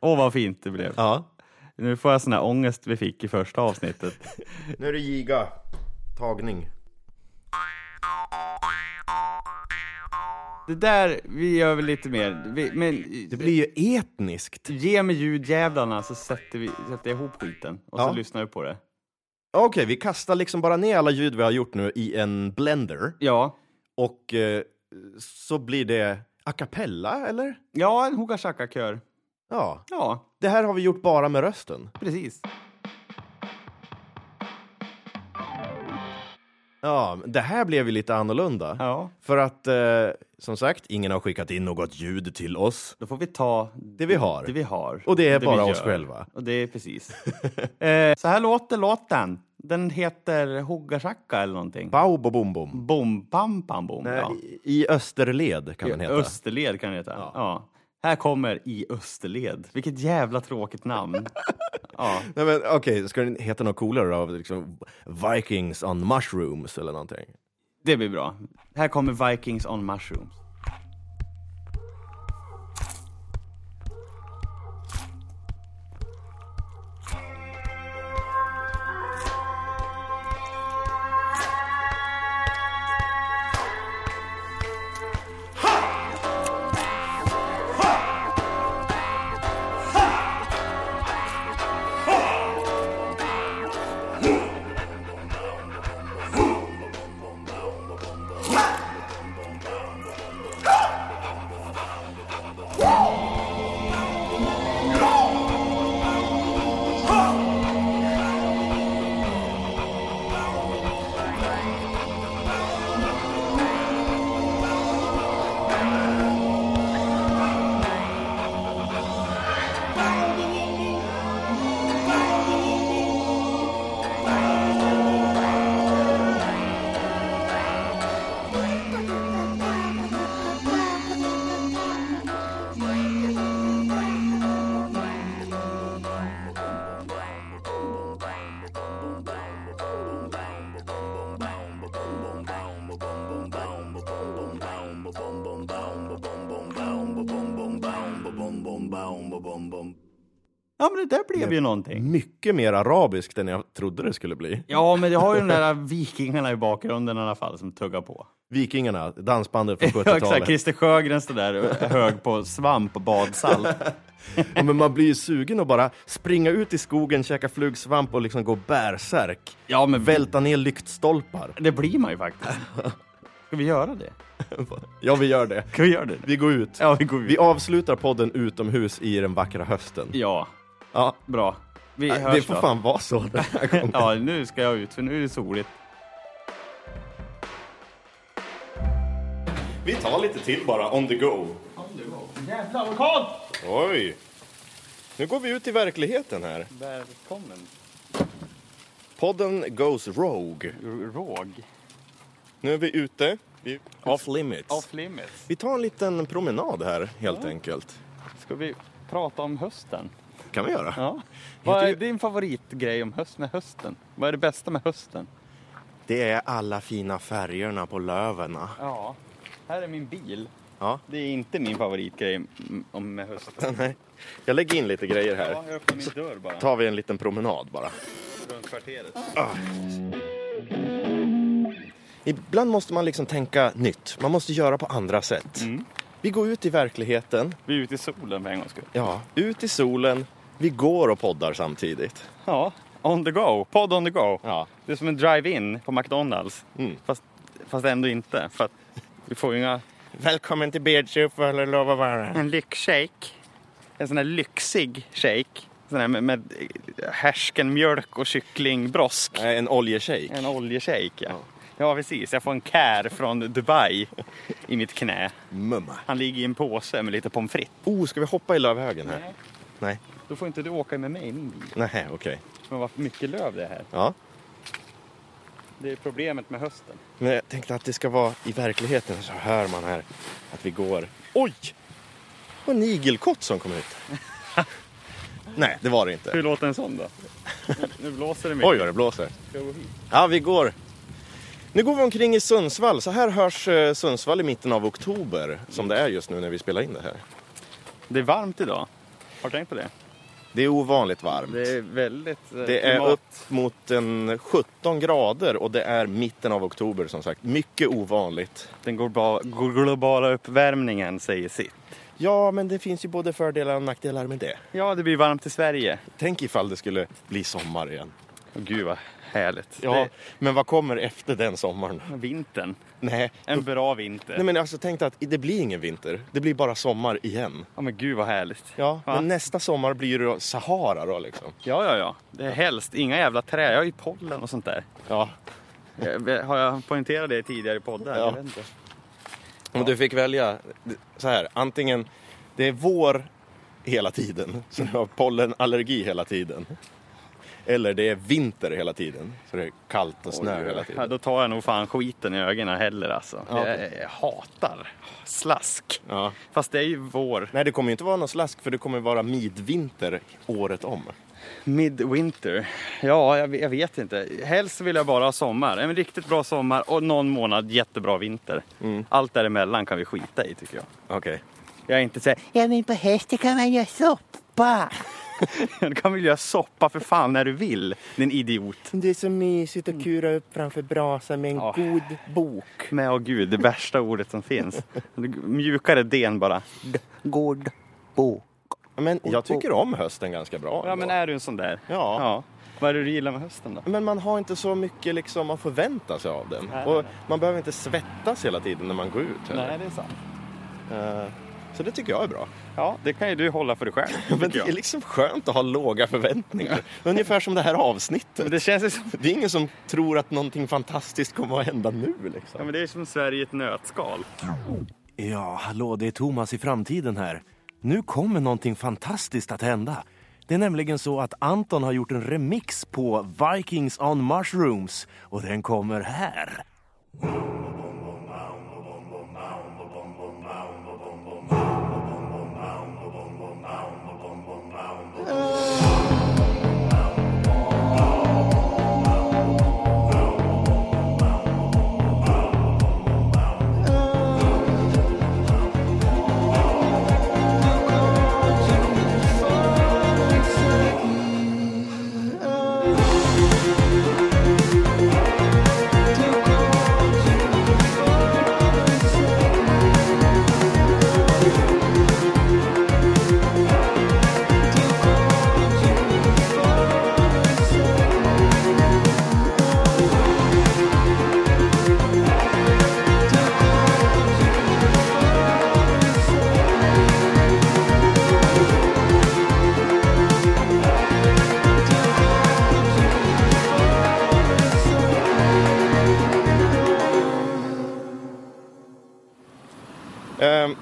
Speaker 1: Åh, vad fint det blev.
Speaker 2: Ja.
Speaker 1: Nu får jag sån här ångest vi fick i första avsnittet.
Speaker 2: Nu är det giga. Tagning.
Speaker 1: Det där, vi gör väl lite mer. Vi, men,
Speaker 2: Det blir ju etniskt.
Speaker 1: Ge mig ljudjävlarna så sätter, vi, sätter jag ihop skiten och
Speaker 2: Ja.
Speaker 1: så lyssnar vi på det.
Speaker 2: Okej, vi kastar liksom bara ner alla ljud vi har gjort nu i en blender
Speaker 1: Ja,
Speaker 2: och eh, så blir det a cappella, eller?
Speaker 1: ja en hookah chaka kör
Speaker 2: Ja.
Speaker 1: Ja,
Speaker 2: Det här har vi gjort bara med rösten.
Speaker 1: precis.
Speaker 2: Ja, men det här blev ju lite annorlunda.
Speaker 1: Ja.
Speaker 2: För att, eh, som sagt, ingen har skickat in något ljud till oss.
Speaker 1: Då får vi ta
Speaker 2: Det vi har.
Speaker 1: det vi har.
Speaker 2: Och det är
Speaker 1: vi
Speaker 2: bara oss
Speaker 1: gör.
Speaker 2: själva.
Speaker 1: Och det är precis. eh, så här låter låten. Den heter Hoggasacka eller någonting.
Speaker 2: Bau, bo, bom, bom.
Speaker 1: Bom, pam, pam, bom.
Speaker 2: Nej,
Speaker 1: Ja.
Speaker 2: i- I österled kan den heta.
Speaker 1: Österled kan den heta. Ja. Här kommer I Österled. Vilket jävla tråkigt namn. ja.
Speaker 2: Nej, men okej, ska den heta något coolare då? Liksom Vikings on mushrooms eller någonting?
Speaker 1: Det blir bra. Här kommer Vikings on mushrooms. Ja, men det där blev ju någonting.
Speaker 2: Mycket mer arabiskt än jag trodde det skulle bli.
Speaker 1: Ja, men det har ju de där vikingarna i bakgrunden i alla fall som tuggar på.
Speaker 2: Vikingarna, dansbandet från
Speaker 1: Ja, exakt.
Speaker 2: 70-talet.
Speaker 1: Christer Sjögren står där hög på svamp och badsalt.
Speaker 2: ja, men man blir ju sugen att bara springa ut i skogen, käka flugsvamp och liksom gå bärsärk.
Speaker 1: Ja, men
Speaker 2: Välta ner lyktstolpar.
Speaker 1: det blir man ju faktiskt. Ska vi göra det?
Speaker 2: Ja, vi gör det.
Speaker 1: Ska vi göra det?
Speaker 2: Vi går ut.
Speaker 1: Ja, vi går
Speaker 2: Vi
Speaker 1: vidare.
Speaker 2: avslutar podden utomhus i den vackra hösten.
Speaker 1: Ja,
Speaker 2: Ja,
Speaker 1: bra. Vi hörs
Speaker 2: det får
Speaker 1: då.
Speaker 2: fan vara så den här gången.
Speaker 1: Ja, nu ska jag ut för nu är det soligt.
Speaker 2: Vi tar lite till bara, on the go. On the go. Jävlar vad kallt! Oj! Nu går vi ut i verkligheten här.
Speaker 1: Välkommen,
Speaker 2: Podden goes rogue.
Speaker 1: Råg.
Speaker 2: Nu är vi ute. Vi... Off limits.
Speaker 1: limits.
Speaker 2: Vi tar en liten promenad här helt enkelt.
Speaker 1: Ska vi prata om hösten?
Speaker 2: kan vi göra.
Speaker 1: Ja. Vad
Speaker 2: Heter
Speaker 1: är
Speaker 2: ju-
Speaker 1: din favoritgrej om höst med hösten? Vad är det bästa med hösten?
Speaker 2: Det är alla fina färgerna på löven.
Speaker 1: Ja, här är min bil.
Speaker 2: Ja.
Speaker 1: Det är inte min favoritgrej mm, om med hösten.
Speaker 2: Nej. Jag lägger in lite grejer här.
Speaker 1: jag öppnar min dörr bara.
Speaker 2: tar vi en liten promenad bara. Ah.
Speaker 1: Runt kvarteret.
Speaker 2: Ibland måste man liksom tänka nytt. Man måste göra på andra sätt.
Speaker 1: Mm.
Speaker 2: Vi går ut i verkligheten.
Speaker 1: Vi är ute i solen för en gångs skull.
Speaker 2: Ja, ut i solen. Vi går och poddar samtidigt.
Speaker 1: Ja, on the go. Podd on the go.
Speaker 2: Ja.
Speaker 1: Det är som en drive-in på McDonalds.
Speaker 2: Mm.
Speaker 1: Fast, fast ändå inte. För att vi får ju inga...
Speaker 2: Välkommen till Beardshop, eller lov att vara.
Speaker 1: En lyxshake. En sån här lyxig shake. Sån här med, med eh, härskenmjölk och kycklingbrosk.
Speaker 2: Nej, en oljeshake.
Speaker 1: En oljeshake, ja. ja. precis. Jag får en kär från Dubai i mitt knä.
Speaker 2: Mumma.
Speaker 1: Han ligger i en påse med lite pommes frites.
Speaker 2: Oh, ska vi hoppa i lövhögen här? Nej.
Speaker 1: Då får inte du åka med mig i min bil.
Speaker 2: Nej, okej.
Speaker 1: Men vad mycket löv det är här.
Speaker 2: Ja.
Speaker 1: Det är problemet med hösten.
Speaker 2: Men jag tänkte att det ska vara i verkligheten så hör man här att vi går. Oj! Det var en igelkott som kom ut. Nej, det var det inte.
Speaker 1: Hur låter en sån då? Nu blåser det mycket.
Speaker 2: Oj, vad det blåser.
Speaker 1: Ska jag gå hit?
Speaker 2: Ja, vi går. Nu går vi omkring i Sundsvall. Så här hörs eh, Sundsvall i mitten av oktober som det är just nu när vi spelar in det här.
Speaker 1: Det är varmt idag. Har du tänkt på det?
Speaker 2: Det är ovanligt varmt.
Speaker 1: Det är väldigt... eh,
Speaker 2: Det är
Speaker 1: klimat-
Speaker 2: upp mot en 17 grader och det är mitten av oktober som sagt. Mycket ovanligt.
Speaker 1: Den globala, globala uppvärmningen säger sitt.
Speaker 2: Ja, men det finns ju både fördelar och nackdelar med det.
Speaker 1: Ja, det blir varmt i Sverige.
Speaker 2: Tänk ifall det skulle bli sommar igen.
Speaker 1: Åh, gud vad härligt.
Speaker 2: Ja, men vad kommer efter den sommaren?
Speaker 1: Det är vintern.
Speaker 2: Nej.
Speaker 1: En bra vinter.
Speaker 2: Nej men alltså tänk dig att det blir ingen vinter. Det blir bara sommar igen.
Speaker 1: Ja, men gud vad härligt.
Speaker 2: Ja,
Speaker 1: Va?
Speaker 2: men nästa sommar blir det då Sahara då liksom.
Speaker 1: ja, ja, ja. Det är helst inga jävla träd. Jag har ju pollen och sånt där.
Speaker 2: Ja.
Speaker 1: Eh, Har jag poängterat det tidigare i poddar?
Speaker 2: Ja.
Speaker 1: Jag vet inte.
Speaker 2: Om du fick välja så här, antingen det är vår hela tiden, så du har pollenallergi hela tiden. Eller det är vinter hela tiden, så det är kallt och snö hela
Speaker 1: Ja,
Speaker 2: tiden.
Speaker 1: då tar jag nog fan skiten i ögonen heller alltså.
Speaker 2: Ja, okej.
Speaker 1: jag, jag hatar slask.
Speaker 2: Ja.
Speaker 1: Fast det är ju vår.
Speaker 2: Nej, det kommer ju inte vara någon slask för det kommer vara midvinter året om.
Speaker 1: Midwinter. Ja, jag, jag vet inte. Helst vill jag bara ha sommar. En riktigt bra sommar och någon månad jättebra vinter.
Speaker 2: Mm.
Speaker 1: Allt däremellan kan vi skita i tycker jag.
Speaker 2: Okej.
Speaker 1: Jag är inte så här,
Speaker 3: Ja, men på hösten kan man göra soppa.
Speaker 1: du kan väl göra soppa för fan när du vill, din idiot.
Speaker 2: Det är så mysigt att kura upp framför brasan med en
Speaker 1: Ja.
Speaker 2: god bok.
Speaker 1: Men åh gud, det värsta ordet som finns. Mjukare den bara.
Speaker 3: God bo.
Speaker 2: Men jag tycker om hösten ganska bra.
Speaker 1: Ja, men
Speaker 2: ändå.
Speaker 1: är du en sån där?
Speaker 2: Ja.
Speaker 1: Vad är det du gillar med hösten då?
Speaker 2: Men man har inte så mycket liksom att förvänta sig av den.
Speaker 1: Nej,
Speaker 2: och
Speaker 1: nej, nej.
Speaker 2: man behöver inte svettas hela tiden när man går ut heller.
Speaker 1: det är sant.
Speaker 2: Eh, Så det tycker jag är bra.
Speaker 1: Ja, det kan ju du hålla för dig själv.
Speaker 2: Men det
Speaker 1: tycker
Speaker 2: är
Speaker 1: jag.
Speaker 2: liksom skönt att ha låga förväntningar. Ungefär som det här
Speaker 1: Men
Speaker 2: avsnittet.
Speaker 1: det känns ju som,
Speaker 2: Det är ingen som tror att någonting fantastiskt kommer att hända nu liksom.
Speaker 1: ja, men det är som Sverige i ett nötskal.
Speaker 2: Ja, hallå, det är Thomas i framtiden här. Nu kommer någonting fantastiskt att hända. Det är nämligen så att Anton har gjort en remix på Vikings on Mushrooms och den kommer här. Ehm,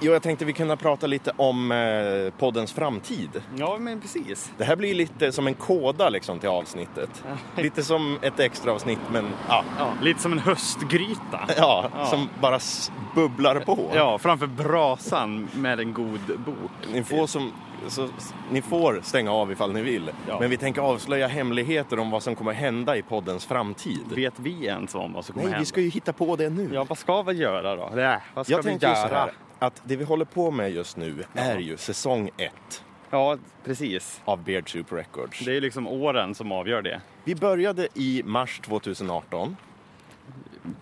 Speaker 2: jo, jag tänkte vi kunde prata lite om eh, poddens framtid.
Speaker 1: Ja, men precis.
Speaker 2: Det här blir ju lite som en koda liksom till avsnittet. Lite som ett extra avsnitt men ja,
Speaker 1: Ja. Lite som en höstgryta.
Speaker 2: ja,
Speaker 1: Ja.
Speaker 2: som bara s- bubblar på.
Speaker 1: Ja, framför brasan med en god bok.
Speaker 2: Ni, får som, så, s- ni får stänga av ifall ni vill.
Speaker 1: Ja.
Speaker 2: Men vi tänker avslöja hemligheter om vad som kommer hända i poddens framtid.
Speaker 1: Vet vi ens om vad som kommer
Speaker 2: Nej, vi
Speaker 1: hända?
Speaker 2: ska ju hitta på det nu.
Speaker 1: Ja, vad ska vi göra då? Nej, vad ska
Speaker 2: jag
Speaker 1: vi
Speaker 2: tänker ju så
Speaker 1: göra?
Speaker 2: här, att det vi håller på med just nu är ju säsong ett
Speaker 1: Ja, precis.
Speaker 2: av Beard Soup Records.
Speaker 1: Det är ju liksom åren som avgör det.
Speaker 2: Vi började i mars 2018.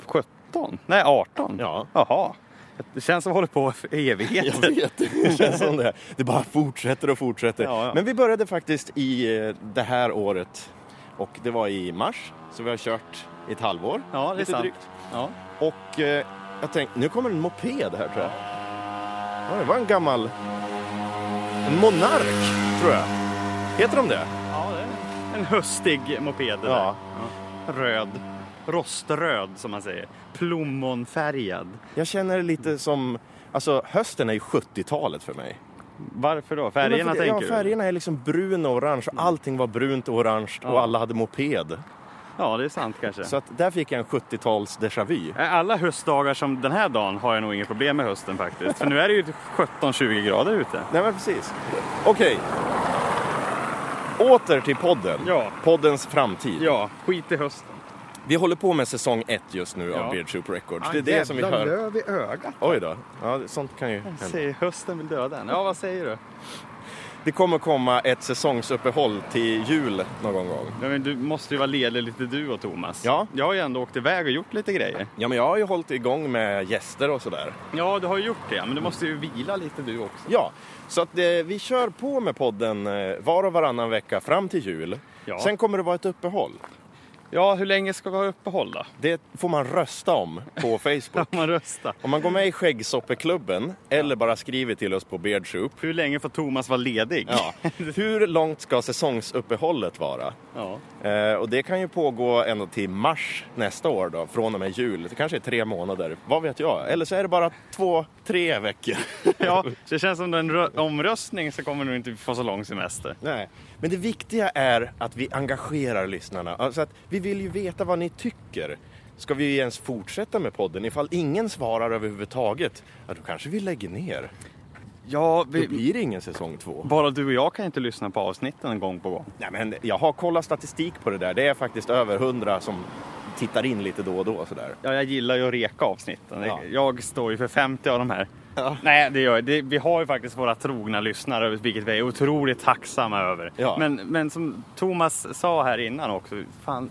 Speaker 1: 17? Nej, 18?
Speaker 2: Ja.
Speaker 1: Jaha. Det känns som att vi håller på för
Speaker 2: Jag
Speaker 1: evigheter.
Speaker 2: vet, det känns som det. Det bara fortsätter och fortsätter.
Speaker 1: Ja, ja.
Speaker 2: Men vi började faktiskt i eh, det här året och det var i mars, så vi har kört i ett halvår.
Speaker 1: Ja, det är
Speaker 2: lite
Speaker 1: sant.
Speaker 2: drygt.
Speaker 1: Ja.
Speaker 2: Och eh, jag tänkte, nu kommer en moped här tror jag. Ja, det var en gammal... En monark, tror jag. Heter de det?
Speaker 1: Ja, det är en höstig moped. det
Speaker 2: Ja.
Speaker 1: där. Röd. Roströd, som man säger. Plommonfärgad.
Speaker 2: Jag känner det lite som... Alltså, hösten är ju 70-talet för mig.
Speaker 1: Varför då?
Speaker 2: Ja, men
Speaker 1: Färgerna
Speaker 2: för det-
Speaker 1: tänker
Speaker 2: ja,
Speaker 1: du?
Speaker 2: färgerna är liksom brun och orange. och Allting var brunt och orange och
Speaker 1: Ja.
Speaker 2: alla hade moped.
Speaker 1: Ja, det är sant kanske.
Speaker 2: Så att där fick jag en 70-tals déjà vu.
Speaker 1: Alla höstdagar som den här dagen har jag nog inget problem med hösten faktiskt. För nu är det ju 17-20 grader ute.
Speaker 2: Nej men precis. Okej. Åter till podden.
Speaker 1: Ja.
Speaker 2: Poddens framtid.
Speaker 1: Ja, skit i hösten.
Speaker 2: Vi håller på med säsong ett just nu
Speaker 1: Ja.
Speaker 2: av Beard Soup Records. Det är det som vi hör.
Speaker 1: löv i ögat.
Speaker 2: Oj då. Ja, det- sånt kan ju hända.
Speaker 1: Säger hösten vill döda en. Ja, vad säger du?
Speaker 2: Det kommer komma ett säsongsuppehåll till jul någon gång.
Speaker 1: Ja, men du måste ju vara ledig lite du och Thomas.
Speaker 2: Ja.
Speaker 1: Jag har ju ändå åkt iväg och gjort lite grejer.
Speaker 2: Ja men jag har ju hållit igång med gäster och sådär.
Speaker 1: Ja, du har ju gjort det. Men du måste ju vila lite du också.
Speaker 2: Ja, så att eh, vi kör på med podden eh, var och varannan vecka fram till jul.
Speaker 1: Ja.
Speaker 2: Sen kommer det vara ett uppehåll.
Speaker 8: Ja, hur länge ska vi ha uppehåll då?
Speaker 2: Det får man rösta om på Facebook.
Speaker 1: Kan man rösta?
Speaker 2: Om man går med i skäggsoppeklubben eller bara skriver till oss på Beardsoup.
Speaker 1: Hur länge får Thomas vara ledig?
Speaker 2: Ja. Hur långt ska säsongsuppehållet vara?
Speaker 1: Ja.
Speaker 2: Eh, och det kan ju pågå ända till mars nästa år då, från och med jul. Det kanske är tre månader, vad vet jag? Eller så är det bara två, tre veckor.
Speaker 1: Ja, så det känns som en rö- omröstning så kommer du inte få så lång semester.
Speaker 2: Nej. Men det viktiga är att vi engagerar lyssnarna. Alltså att vi vill ju veta vad ni tycker. Ska vi ens fortsätta med podden? Ifall ingen svarar överhuvudtaget, ja, då kanske vi lägger ner.
Speaker 1: Ja,
Speaker 2: Då blir det ingen säsong två.
Speaker 1: bara du och jag kan inte lyssna på avsnitten gång på gång.
Speaker 2: Nej, men jag har kollat statistik på det där. Det är faktiskt över hundra som tittar in lite då och då. Sådär.
Speaker 1: Ja, jag gillar ju att reka avsnitten.
Speaker 2: Ja.
Speaker 1: Jag står ju för 50 av de här. Nej, det gör jag. det, Vi har ju faktiskt våra trogna lyssnare, vilket vi är otroligt tacksamma över.
Speaker 2: Ja.
Speaker 1: Men, men som Thomas sa här innan också, fan,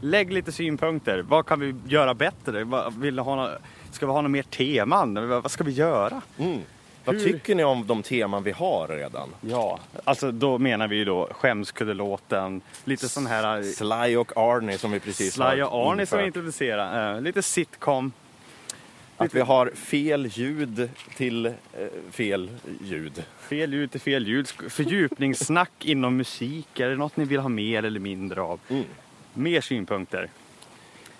Speaker 1: lägg lite synpunkter. Vad kan vi göra bättre? Vad, vill du ha nå- ska vi ha några mer teman? Vad vad ska vi göra?
Speaker 2: Vad tycker ni om de teman vi har redan?
Speaker 1: Ja, alltså då menar vi ju då skämskuddelåten, lite sån här
Speaker 2: Sly och Arnie som vi precis
Speaker 1: Sly och Arnie som
Speaker 2: infört.
Speaker 1: introducerar, eh, lite sitcom.
Speaker 2: Att vi har fel ljud till eh, fel ljud.
Speaker 1: Fel ljud till fel ljud. Sk- Fördjupningssnack inom musik. Är det något ni vill ha mer eller mindre av?
Speaker 2: Mm.
Speaker 1: Mer synpunkter.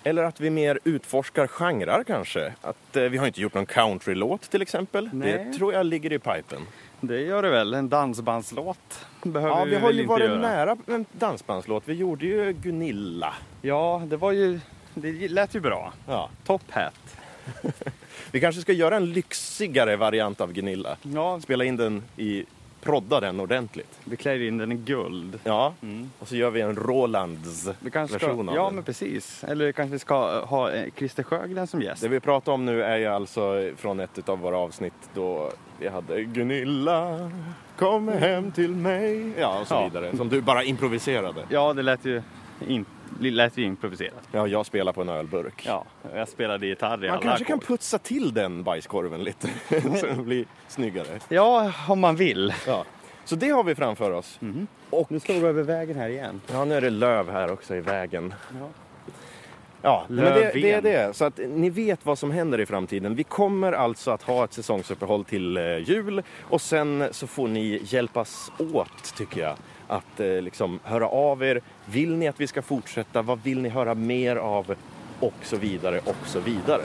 Speaker 2: Eller att vi mer utforskar genrer kanske. Att, eh, vi har inte gjort någon countrylåt till exempel.
Speaker 1: Nej.
Speaker 2: Det tror jag ligger i pipen.
Speaker 1: Det gör det väl. En dansbandslåt behöver
Speaker 2: Ja, vi har
Speaker 1: väl
Speaker 2: ju
Speaker 1: inte
Speaker 2: varit
Speaker 1: göra.
Speaker 2: nära en dansbandslåt. Vi gjorde ju Gunilla.
Speaker 1: Ja, det var ju... Det lät ju bra.
Speaker 2: Ja.
Speaker 1: Top hat.
Speaker 2: Vi kanske ska göra en lyxigare variant av Gunilla.
Speaker 1: Ja,
Speaker 2: Spela in den i prodda den ordentligt.
Speaker 1: vi klär in den i guld.
Speaker 2: Ja, och så gör vi en Rolands
Speaker 1: Mm. Vi kanske ska,
Speaker 2: version av
Speaker 1: ja,
Speaker 2: den.
Speaker 1: men precis. Eller kanske vi ska eh, ha eh, Christer Sjögren som gäst.
Speaker 2: Det vi pratar om nu är ju alltså från ett av våra avsnitt då vi hade Gunilla, kom hem till mig. Ja, och så
Speaker 1: Ja.
Speaker 2: vidare. Som du bara improviserade.
Speaker 1: Ja, det lät ju, in, det lät ju improviserat.
Speaker 2: Ja, jag spelar på en ölburk.
Speaker 1: Ja, jag spelade gitarr i
Speaker 2: Man
Speaker 1: alla
Speaker 2: kanske kan
Speaker 1: ackord.
Speaker 2: putsa till den bajskorven lite så den blir snyggare.
Speaker 1: Ja, om man vill.
Speaker 2: Ja. Så det har vi framför oss.
Speaker 1: Nu står vi över vägen här igen.
Speaker 2: Ja, nu är det löv här också i vägen.
Speaker 1: Ja.
Speaker 2: Ja, men det, det
Speaker 1: Löfven.
Speaker 2: är det. Så att ni vet vad som händer i framtiden. Vi kommer alltså att ha ett säsongsuppehåll till eh, jul och sen så får ni hjälpas åt, tycker jag, att eh, liksom höra av er. Vill ni att vi ska fortsätta? Vad vill ni höra mer av? Och så vidare, och så vidare.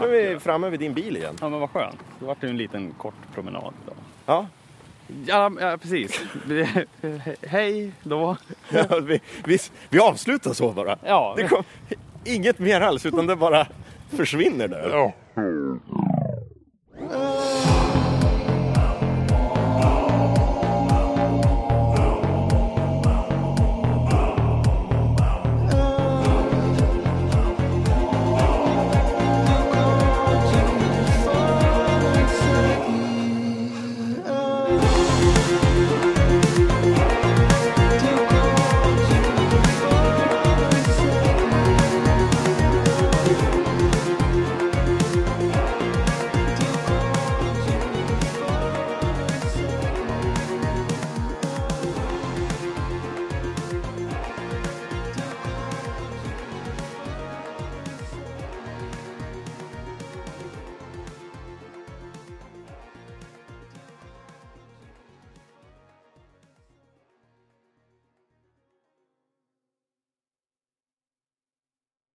Speaker 2: Nu är vi framme vid din bil igen.
Speaker 1: Ja, men vad skönt. Det vart ju en liten kort promenad idag.
Speaker 2: Ja,
Speaker 1: Ja, ja precis. Hej då.
Speaker 2: Ja, vi, vi, vi avslutar så bara.
Speaker 1: Ja.
Speaker 2: Det kom, inget mer alls, utan det bara försvinner där.